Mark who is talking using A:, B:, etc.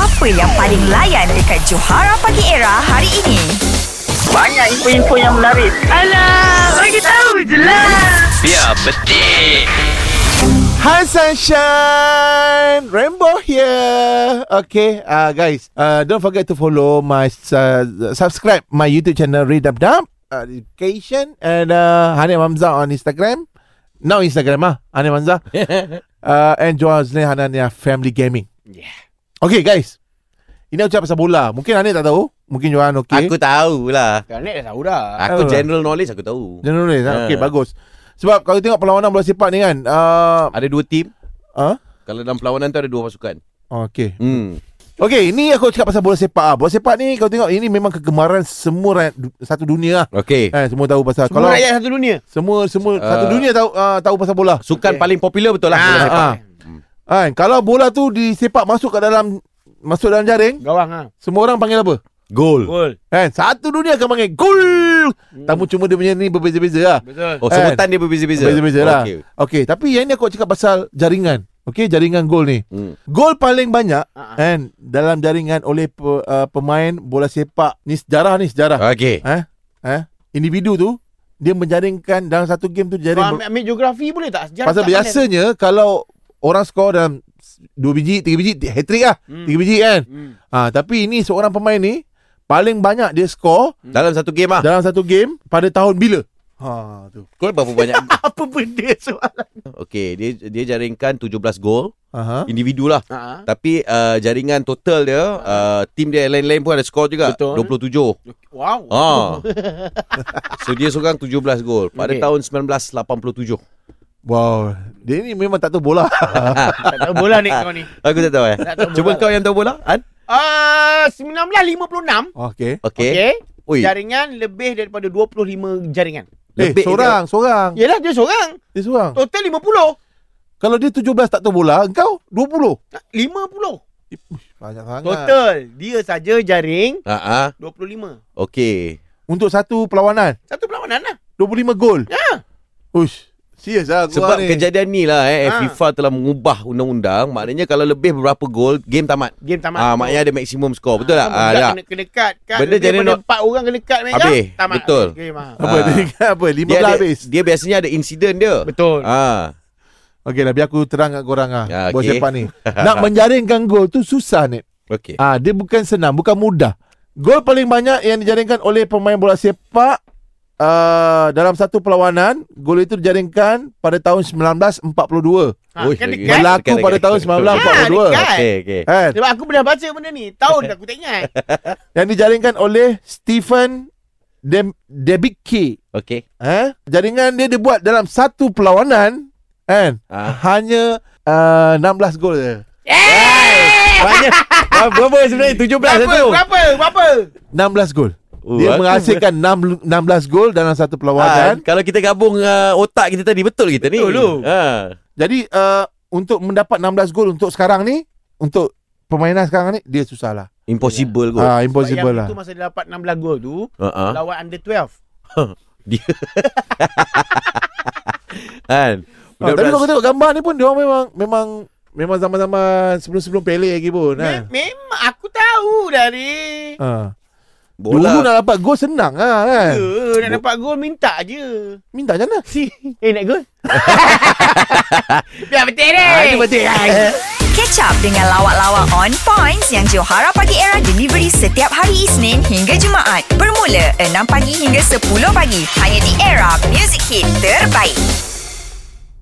A: Apa yang paling layan dekat Johara Pagi Era hari ini?
B: Banyak info-info yang menarik.
C: Alah, bagi tahu je lah.
D: Biar betik.
E: Hi Sunshine Rainbow here Okay uh, guys uh, Don't forget to follow my uh, Subscribe my YouTube channel Redub Dub uh, Education And uh, Hanif Hamzah on Instagram Now Instagram ah Hanif Hamzah uh, And Johan Husni Hanania Family Gaming Yeah Okay guys Ini aku cakap pasal bola Mungkin Hanif tak tahu Mungkin Johan okay
F: Aku tahulah.
G: Kerana dah tahu dah.
E: Tahu
F: Aku
E: lah.
F: general knowledge aku tahu.
E: Dia nulis uh.
F: Ah.
E: Okay bagus Sebab kalau tengok perlawanan bola sepak ni kan uh,
F: Ada dua team.
E: huh?
F: Kalau dalam perlawanan tu ada dua pasukan.
E: Okay
F: Hmm.
E: Okey, ini aku cakap pasal bola sepak ah. Bola sepak ni kau tengok ini memang kegemaran semua rakyat du- satu dunia lah.
F: Okey.
E: Eh, semua tahu pasal
G: Semua rakyat satu dunia.
E: semua semua uh, satu
F: Ah.
E: dunia tahu uh, tahu pasal bola.
F: Sukan
G: Okey.
F: paling popular betul lah bola
E: Ah,
F: sepak.
E: ah. Ah, kalau bola tu disepak masuk ke dalam masuk dalam jaring,
G: Gawang ah.
E: semua orang panggil apa?
F: Gol.
G: Gol.
E: Eh, satu dunia akan panggil gol.
G: Hmm.
E: Tamu cuma dia punya ni berbeza-beza lah.
G: Betul.
F: Oh,
E: Eh.
F: sebutan dia berbeza-beza.
E: Berbeza-beza lah.
F: Okey.
E: Okey, okay, tapi yang ni aku nak cakap pasal jaringan. Okey, jaringan gol ni.
F: Hmm.
E: Gol paling banyak
G: Ah, ah.
E: kan dalam jaringan oleh pe, uh, pemain bola sepak. Ni sejarah ni sejarah.
F: Okey.
E: eh, eh, individu tu dia menjaringkan dalam satu game tu
G: Kau
E: jaring
G: ambil, ambil geografi boleh tak? Sejarah
E: pasal
G: tak
E: biasanya kalau orang skor dalam 2 biji, 3 biji, hat trick lah.
G: Hmm.
E: 3 biji kan.
G: pandai. Hmm.
E: Ha, tapi ini seorang pemain ni paling banyak dia skor
F: Dalam satu game ah.
E: dalam satu game pada tahun bila? Ha tu.
F: Gol berapa banyak?
E: Apa benda soalan?
F: Okey, dia dia jaringkan 17 gol
E: Aha.
F: individu lah.
G: Ha.
F: Tapi uh, jaringan total dia uh, Team dia yang lain-lain pun ada skor juga
G: Ah. Betul.
F: 27
G: Wow.
F: ah. So dia seorang 17 gol Pada
G: Okey.
F: tahun 1987
E: Wow. Dia ni memang tak tahu bola.
G: Tak tahu bola ni kau ni.
F: Aku tak tahu eh
G: Tak tahu
F: Cuba
G: bola.
F: kau yang tahu bola Han?
G: Ah, 1956.
E: Okey.
F: Okey
G: Okey.
F: Ui,
G: Jaringan lebih daripada 25 jaringan.
E: Eh,
F: Lebih
E: seorang, seorang.
G: Yalah dia seorang.
E: Dia seorang.
G: Total 50.
E: Kalau dia 17 tak tahu bola, engkau 20.
G: 50.
E: Banyak sangat.
G: Total dia saja jaring
F: Ah ah.
G: 25.
F: Okey.
E: Untuk satu perlawanan.
G: Satu perlawanan lah.
E: 25 gol.
G: Ya.
E: Ush. Serius lah aku
F: Sebab
E: ni.
F: kejadian ni lah eh,
G: Ha.
F: FIFA telah mengubah undang-undang. Maknanya kalau lebih berapa gol, game tamat.
G: Game tamat.
F: Ah, maknanya ada maksimum skor. Betul tak?
G: Kan
F: Ah,
G: budak
F: tak?
G: kena, kena cut cut.
F: Benda
G: Lebih
F: jadi
G: daripada
F: no-
G: empat orang kena cut Mac.
F: Habis.
G: Ya, tamat.
F: Betul.
G: Game, ah.
E: Apa
F: Ah.
E: dia ingat apa 15
F: Dia, ada,
E: habis
F: dia biasanya ada insiden dia.
G: Betul.
F: Ah,
E: Okey lah biar aku terang kat korang ah.
F: Ya,
E: Buat
F: okey.
E: sepak ni Nak menjaringkan gol tu susah ni
F: okey.
E: ah, Dia bukan senang Bukan mudah Gol paling banyak yang dijaringkan oleh pemain bola sepak uh, Dalam satu perlawanan Gol itu dijaringkan pada tahun 1942
G: Ha,
F: Ui,
G: kan
F: lagi.
G: dekat.
E: Berlaku
F: dekat,
E: pada
F: dekat.
E: tahun 1942
G: Ah, dekat.
F: Okey, okey.
E: kan?
G: Sebab aku pernah baca benda ni. Tahun aku tak ingat.
E: Yang dijaringkan oleh Stephen Dem- Debicki
F: Okey.
E: Eh? Jaringan dia dia buat dalam satu perlawanan kan?
F: Ah.
E: Hanya uh, 16 gol je.
F: Banyak. Berapa sebenarnya? 17
G: Berapa?
F: satu.
G: Berapa? Berapa?
E: 16 gol.
F: Oh,
E: dia
F: aku-
E: menghasilkan 6, 16 gol dalam satu
F: Ah,
E: perlawanan.
F: kalau kita gabung uh, otak kita tadi betul kita ni.
G: Betul tu.
F: Ha.
E: Jadi uh, untuk mendapat 16 gol untuk sekarang ni, untuk permainan sekarang ni dia susah lah.
F: Impossible kot.
E: Ah, impossible
G: Sebab
E: lah.
G: yang Itu masa dia dapat 16 gol tu.
F: Ha ah.
G: Lawan under 12.
F: Kan.
E: Ah, tapi
F: Budak-budak-
E: kalau kau tengok gambar ni pun dia orang memang memang memang zaman-zaman sebelum-sebelum Pele lagi pun
G: Me-
E: kan.
G: memang aku tahu dari.
E: Ha. Dulu
F: bola.
E: nak dapat gol senang lah kan.
G: Ya, nak dapat gol minta je.
E: Minta macam mana?
G: Eh, nak gol? Biar betul deh.
E: Ah, itu betul, guys.
A: Catch up dengan lawak-lawak on points yang Johara Pagi Era delivery setiap hari Isnin hingga Jumaat. Bermula 6 pagi hingga 10 pagi. Hanya di Era Music Hit Terbaik.